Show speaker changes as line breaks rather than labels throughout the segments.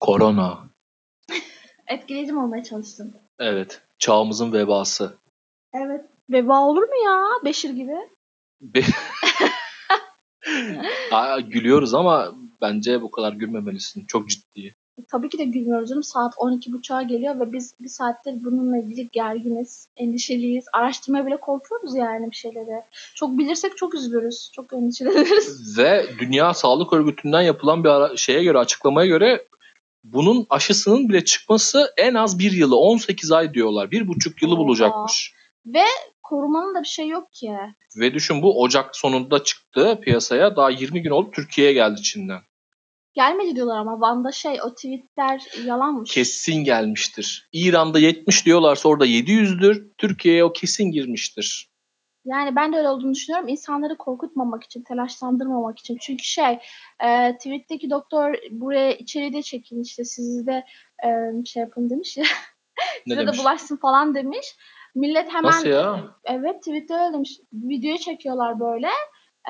Korona.
Etkileyici mi olmaya çalıştım.
Evet. Çağımızın vebası.
Evet. Veba olur mu ya? Beşir gibi.
Be- Aa, gülüyoruz ama bence bu kadar gülmemelisin. Çok ciddi.
E, Tabii ki de gülmüyoruz canım. Saat 12.30'a geliyor ve biz bir saattir bununla ilgili gerginiz, endişeliyiz. Araştırmaya bile korkuyoruz yani bir şeyleri. Çok bilirsek çok üzülürüz. Çok endişeleniriz.
Ve Dünya Sağlık Örgütü'nden yapılan bir ara- şeye göre, açıklamaya göre bunun aşısının bile çıkması en az bir yılı, 18 ay diyorlar. Bir buçuk yılı
Oha.
bulacakmış.
Korumanın da bir şey yok ki.
Ve düşün bu Ocak sonunda çıktı piyasaya. Daha 20 gün oldu Türkiye'ye geldi Çin'den.
Gelmedi diyorlar ama Van'da şey o tweetler yalanmış.
Kesin gelmiştir. İran'da 70 diyorlarsa orada 700'dür. Türkiye'ye o kesin girmiştir.
Yani ben de öyle olduğunu düşünüyorum. İnsanları korkutmamak için, telaşlandırmamak için. Çünkü şey, e, tweet'teki doktor buraya içeri de çekin işte sizi de e, şey yapın demiş ya.
Ne
size
demiş?
de bulaşsın falan demiş. Millet hemen
Nasıl ya?
evet tweet'te öyle demiş. Videoyu çekiyorlar böyle.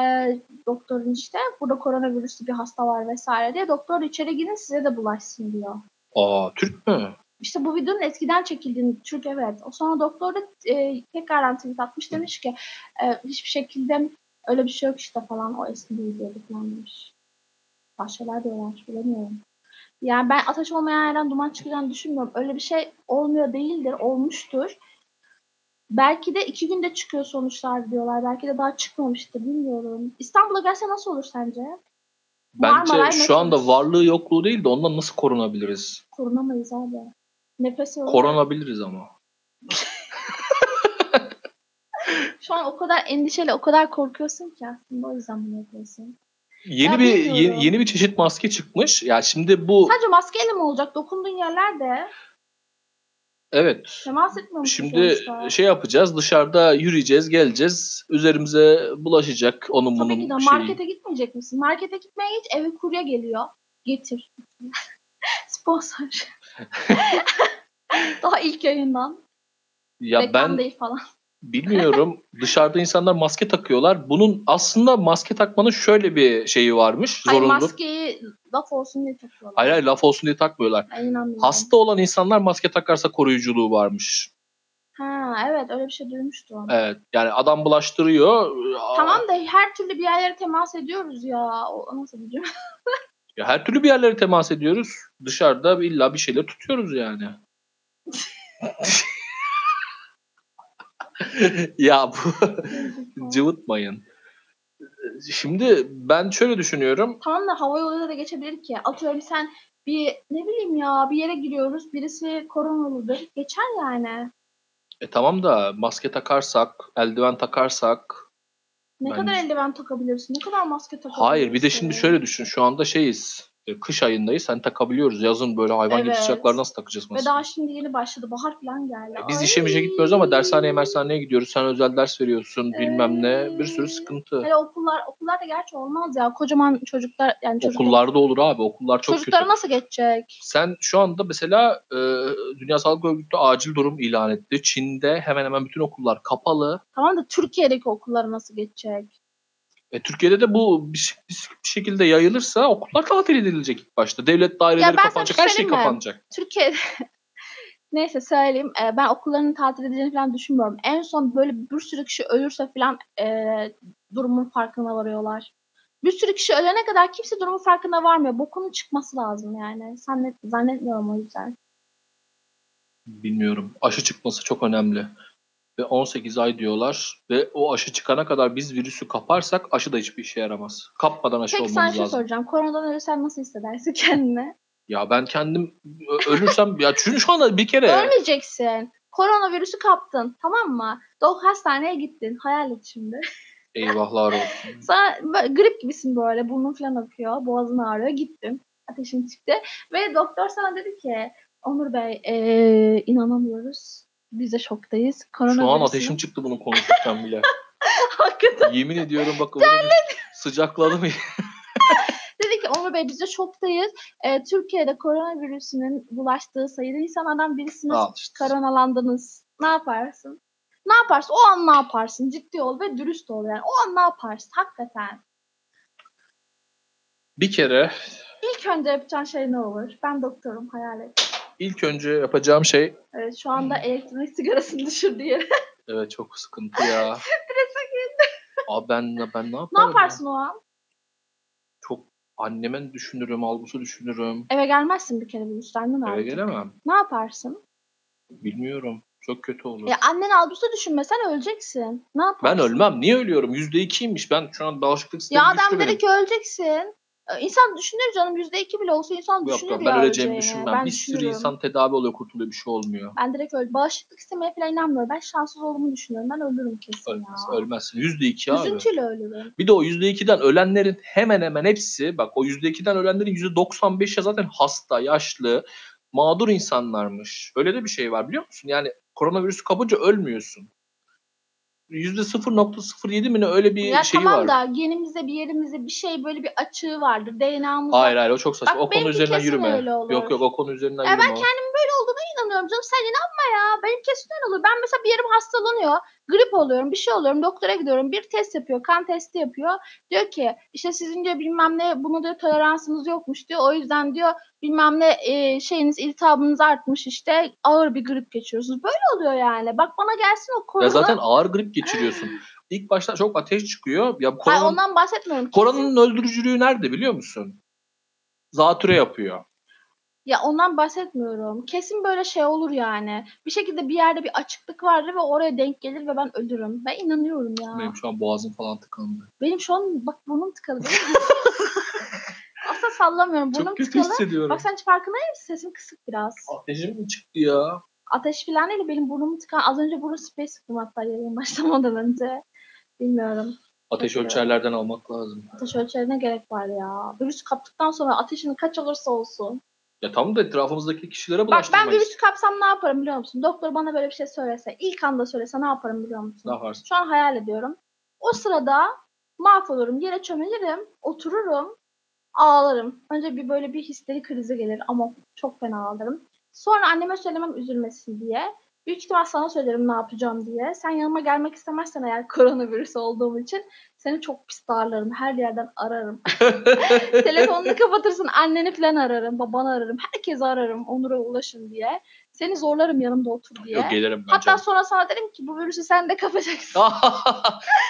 E, doktorun işte burada koronavirüslü bir hasta var vesaire diye. Doktor içeri girin size de bulaşsın diyor.
Aa Türk mü?
İşte bu videonun eskiden çekildiğini Türk evet. O sonra doktor da e, tekrardan tweet atmış demiş ki e, hiçbir şekilde öyle bir şey yok işte falan o eski videoda falan demiş. Başkalar diyorlar bilemiyorum. Yani ben ateş olmayan yerden duman çıkacağını düşünmüyorum. Öyle bir şey olmuyor değildir, olmuştur. Belki de iki günde çıkıyor sonuçlar diyorlar. Belki de daha çıkmamıştır bilmiyorum. İstanbul'a gelse nasıl olur sence?
Bence
Marmaray
şu anda
metrobüs.
varlığı yokluğu değil de ondan nasıl korunabiliriz?
Korunamayız abi. Nefes alıyoruz.
Korunabiliriz ama.
Şu an o kadar endişeli, o kadar korkuyorsun ki aslında o yüzden bunu yapıyorsun.
Yeni
Ya
bir ye-
bilmiyorum.
yeni, bir çeşit maske çıkmış. Ya şimdi bu
Sadece maskeyle mi olacak? Dokunduğun yerlerde
evet.
temas etmiyor musun
Şimdi
sonuçta?
şey yapacağız. Dışarıda yürüyeceğiz, geleceğiz. Üzerimize bulaşacak onun
Tabii ki de
bunun şeyi.
markete gitmeyecek misin? Markete gitmeye hiç eve kurye geliyor. Getir. Sponsor. Daha ilk yayından.
Ya
Reklam
ben
değil falan.
bilmiyorum. Dışarıda insanlar maske takıyorlar. Bunun aslında maske takmanın şöyle bir şeyi varmış.
Ay
Zorunluluk.
maskeyi laf olsun diye takıyorlar.
Hayır hayır laf olsun diye takmıyorlar.
Ay, inanmıyorum.
Hasta olan insanlar maske takarsa koruyuculuğu varmış.
Ha, evet öyle bir şey duymuştum.
Evet. Yani adam bulaştırıyor.
Tamam da her türlü bir yerlere temas ediyoruz ya. O nasıl bir cümle?
Ya her türlü bir yerlere temas ediyoruz. Dışarıda illa bir şeyler tutuyoruz yani. ya bu cıvıtmayın. Şimdi ben şöyle düşünüyorum.
Tamam da hava yoluyla da geçebilir ki. Atıyorum sen bir ne bileyim ya bir yere giriyoruz. Birisi koronalıdır. Geçer yani.
E tamam da maske takarsak, eldiven takarsak.
Ne
Bence-
kadar eldiven takabilirsin? Ne kadar maske takabilirsin?
Hayır bir de şimdi şöyle düşün. Şu anda şeyiz. e, Kış ayındayız. Hani takabiliyoruz. Yazın böyle hayvan gibi
Evet.
sıcaklar nasıl takacağız
Ve
maske?
daha şimdi yeni başladı. Bahar falan geldi.
Ya Biz
Ay.
işe mişe gitmiyoruz ama dershaneye mersaneye gidiyoruz. Sen özel ders veriyorsun bilmem ne. Bir sürü
Ee,
sıkıntı.
Hele okullar, okullarda gerçi olmaz ya. Kocaman çocuklar yani çocuk,
Okullarda olur abi. Okullar çok
çocuklara
kötü.
nasıl geçecek?
Sen şu anda mesela e, Dünya Sağlık Örgütü acil durum ilan etti. Çin'de hemen hemen bütün okullar kapalı.
Tamam da Türkiye'deki okullara nasıl geçecek?
E, Türkiye'de de bu bir, ş- bir ş- bir şekilde yayılırsa okullar tatil edilecek ilk başta. Devlet daireleri
Ya ben sana
kapanacak.
bir
Her
şey
şey
söyleyeyim mi?
kapanacak.
Türkiye'de Neyse söyleyeyim. Ee, ben okulların tatil edeceğini falan düşünmüyorum. En son böyle bir sürü kişi ölürse falan e, durumun farkına varıyorlar. Bir sürü kişi ölene kadar kimse durumun farkına varmıyor. Bokunun çıkması lazım yani. Zannet, zannetmiyorum o yüzden.
Bilmiyorum. Aşı çıkması çok önemli. Ve 18 ay diyorlar. Ve o aşı çıkana kadar biz virüsü kaparsak aşı da hiçbir işe yaramaz. Kapmadan aşı
Peki
olmamız
sana şey
lazım.
soracağım. Koronadan ölürsen nasıl hissedersin kendini?
Ya ben kendim ö- ölürsem ya çünkü şu anda bir kere
Ölmeyeceksin. Koronavirüsü kaptın tamam mı? Dok hastaneye gittin. Hayal et şimdi.
eyvahlar olsun.
Sana böyle grip gibisin böyle. Burnun falan akıyor. Boğazın ağrıyor. Gittin. Ateşin çıktı. Ve doktor sana dedi ki Onur Bey eee, inanamıyoruz. Biz de şoktayız.
Şu an
Koronavirüsün-
ateşim çıktı bunu konuşurken bile.
Hakikaten.
Yemin ediyorum bak öyle bir sıcakladım.
Dedi ki Onur Bey biz de şoktayız. Eee, Türkiye'de koronavirüsünün bulaştığı sayıda insanlardan birisiniz.
Al işte.
Koronalandınız. Ne yaparsın? Ne yaparsın? O an ne yaparsın? Ciddi ol ve dürüst ol yani. O an ne yaparsın? Hakikaten.
Bir kere
İlk önce yapacağın şey ne olur? Ben doktorum hayal et.
İlk önce yapacağım şey
Evet, Ee, şu anda elektronik sigarasını düşürdüğü yere.
evet çok sıkıntı ya. Abi ben ben ne yaparım?
ne
ya?
yaparsın o an?
Anneme düşünürüm, Albus'u düşünürüm.
Eve gelmezsin bir kere bu üstten değil mi?
Eve
artık?
gelemem.
Ne yaparsın?
Bilmiyorum. Çok kötü olur.
Ya annen Albus'u düşünmesen öleceksin. Ne yaparsın?
ben ölmem. Niye ölüyorum? %2'ymiş. Ben şu an bağışıklık sistemi
Ya
ya
adam
güçlü
dedi
benim.
ki öleceksin. Ee, İnsan düşünür canım. Yüzde iki bile olsa insan
Yok
düşünür
yok
ya
ben öleceğimi
öleceğini.
düşünmem.
Ben
bir sürü
düşünürüm.
insan tedavi oluyor, kurtuluyor. Bir şey olmuyor.
Ben direkt öl. Bağışıklık sistemine falan inanmıyorum. Ben şanssız olduğumu düşünüyorum. Ben ölürüm kesin
Ölmez,
ya.
ölmezsin. %2 abi.
Üzüntüyle ölürüm.
Bir de o %2'den ölenlerin hemen hemen hepsi bak o %2'den ölenlerin %95'i zaten hasta, yaşlı, mağdur insanlarmış. Öyle de bir şey var biliyor musun? Yani koronavirüsü kapınca ölmüyorsun. %0.07 mi ne öyle bir
ya
şeyi
tamam
var.
da genimizde bir yerimizde bir şey böyle bir açığı vardır. DNA'mız
Hayır hayır o çok saçma.
Bak
o konu
benimki
üzerinden
kesin
yürüme.
öyle olur.
Yok yok o konu üzerinden
Ya ben
yürüme. o.
böyle olduğuna inanıyorum canım. Sen inanma ya. Benim kesin öyle olur. Ben mesela bir yerim hastalanıyor. Grip oluyorum. Bir şey oluyorum. Doktora gidiyorum. Bir test yapıyor. Kan testi yapıyor. Diyor ki işte sizin diyor bilmem ne buna diyor toleransınız yokmuş diyor. O yüzden diyor bilmem ne e, şeyiniz iltihabınız artmış işte. Ağır bir grip geçiriyorsunuz. Böyle oluyor yani. Bak bana gelsin o korona.
Ya zaten ağır grip geçiriyorsun. İlk başta çok ateş çıkıyor. Ya
Ay,
koronanın,
ondan bahsetmiyorum. Kesin-
koronanın öldürücülüğü nerede biliyor musun? Zatüre yapıyor.
Ya ondan bahsetmiyorum. Kesin böyle şey olur yani. Bir şekilde bir yerde bir açıklık vardır ve oraya denk gelir ve ben ölürüm. Ben inanıyorum ya.
Benim şu an boğazım falan tıkandı.
Benim şu an bak burnum tıkalı. değil mi? Asla sallamıyorum. Burnum
Çok kötü
tıkalı.
hissediyorum.
Bak sen hiç farkında değil misin? Sesim kısık biraz.
Ateşim mi çıktı ya?
Ateş falan değil de benim burnum tıkan. Az önce burun spreyi sıktım hatta yayın başlamadan önce. Bilmiyorum.
Ateş
Bakıyorum.
ölçerlerden almak lazım.
Ateş ölçerine gerek var ya. Virüs kaptıktan sonra ateşini kaç olursa olsun.
Ya tam da etrafımızdaki kişilere
Bak ben
bulaştırmayız.
virüsü kapsam ne yaparım biliyor musun? Doktor bana böyle bir şey söylese, ilk anda söylese ne yaparım biliyor musun?
Ne yaparsın?
Şu an hayal ediyorum. O sırada mahvolurum. Yere çömelirim. Otururum. Ağlarım. Önce bir böyle bir histeri krizi gelir ama çok fena ağlarım. Sonra anneme söylemem üzülmesin diye. Büyük ihtimal sana söylerim ne yapacağım diye. Sen yanıma gelmek istemezsen eğer koronavirüs olduğum için seni çok pis darlarım. Her yerden ararım. Telefonunu kapatırsın. Anneni falan ararım. Babanı ararım. Herkesi ararım. Onur'a ulaşın diye. Seni zorlarım yanımda otur diye.
Yok gelirim ben
Hatta
canım.
sonra sana derim ki bu virüsü sen de kapacaksın.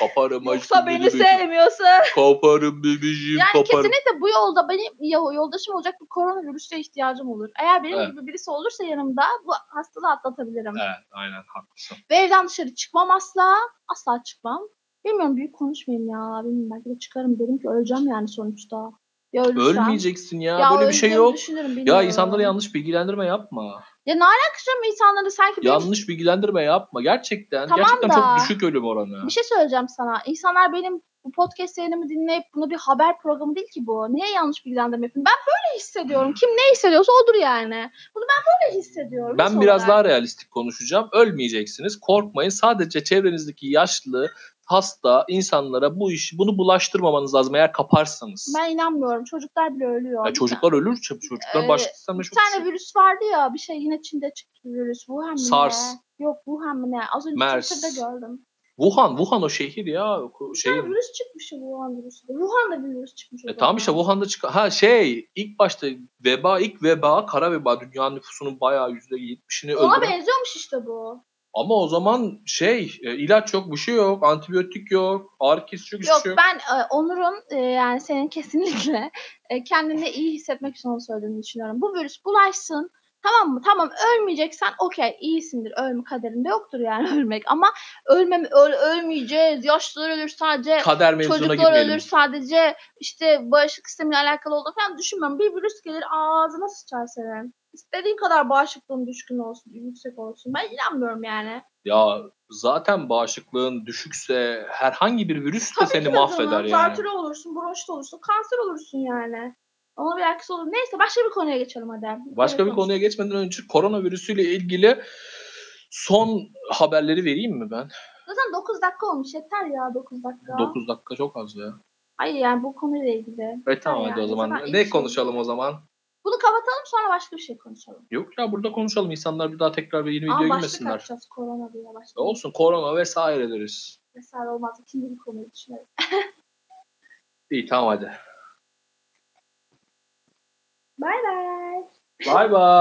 Kaparım aşkım
Yoksa beni
bebeğim.
sevmiyorsun.
Kaparım bebeğim
Yani
kaparım.
kesinlikle bu yolda benim ya- yoldaşım olacak bir koronavirüse ihtiyacım olur. Eğer benim
Evet.
gibi birisi olursa yanımda bu hastalığı atlatabilirim.
Evet aynen haklısın.
Ve evden dışarı çıkmam asla. Asla çıkmam. Bilmiyorum büyük konuşmayayım ya. Bilmiyorum belki de çıkarım. Derim ki öleceğim yani sonuçta. Ya ölürsem.
Ölmeyeceksin ya, böyle bir şey
öleceğimi
yok.
düşünürüm,
Ya
bilmiyorum.
insanları yanlış bilgilendirme yapma.
Ya ne alakası var insanları sanki benim
Yanlış bilgilendirme yapma. Gerçekten.
Tamam
gerçekten
da-
çok düşük ölüm oranı.
Bir şey söyleyeceğim sana. İnsanlar benim bu podcast yayınımı dinleyip bunu bir haber programı değil ki bu. Niye yanlış bilgilendirme yapayım? Ben böyle hissediyorum. Kim ne hissediyorsa odur yani. Bunu ben böyle hissediyorum.
Ben
Son
biraz
olarak.
daha realistik konuşacağım. Ölmeyeceksiniz. Korkmayın. Sadece çevrenizdeki yaşlı, hasta insanlara bu işi bunu bulaştırmamanız lazım eğer kaparsanız.
Ben inanmıyorum. Çocuklar bile ölüyor.
Ya çocuklar ölür. ç- Çocuklar
Ee,
başlıklı sana
Bir
çok
tane virüs vardı ya bir şey yine Çin'de çıktı bir virüs. Wuhan mı
SARS.
ne? Yok Wuhan mı ne? Az önce
MERS.
Twitter'da gördüm.
Wuhan, Wuhan o şehir ya. ko-
Bir
Şey.
tane virüs çıkmış ya Wuhan virüsü. Wuhan'da bir virüs çıkmış. o
E tamam
zaman.
işte Wuhan'da çıkan. Ha şey ilk başta veba ilk veba kara veba dünya nüfusunun bayağı yüzde yetmişini
Ona
öldüren.
benziyormuş işte bu.
Ama o zaman şey e, ilaç yok bir şey yok antibiyotik yok ağrı kesici yok hiçbir
Yok
şey yok.
ben e, Onur'un e, yani senin kesinlikle e, kendini iyi hissetmek için onu söylediğini düşünüyorum. Bu virüs bulaşsın tamam mı? Tamam ölmeyeceksen okey iyisindir. Ölme kaderinde yoktur yani ölmek ama ölmem öl, ölmeyeceğiz. Yaşlılar ölür sadece.
Kader mevzuna
Çocuklar
girmeyelim.
ölür sadece işte bağışıklık sistemiyle alakalı olduğu falan düşünmem. Bir virüs gelir ağzına sıçar senin. İstediğin kadar bağışıklığın düşkün olsun, yüksek olsun. Ben inanmıyorum yani.
Ya zaten bağışıklığın düşükse herhangi bir virüs de
ki
seni
o zaman
mahveder yani.
Zatüre olursun, bronşit olursun, kanser olursun yani. Ona bir alakası olur. Neyse başka bir konuya geçelim hadi.
Başka bir konuya geçmeden önce koronavirüsüyle ilgili son haberleri vereyim mi ben?
Zaten 9 dakika olmuş. Yeter ya 9 dakika.
9 dakika çok az ya.
Hayır yani bu konuyla ilgili.
E tamam
yani,
hadi o
zaten
zaman.
ilk
Ne
şey-
konuşalım o zaman?
Bunu kapatalım sonra başka bir şey konuşalım.
Yok ya burada konuşalım. İnsanlar bir daha tekrar bir yeni
Ama
videoya
başlık
girmesinler.
atacağız korona diye başlık.
Olsun korona vesaire deriz.
Mesela olmaz. İkinci bir konuyu düşünelim.
İyi tamam hadi. Bay bay.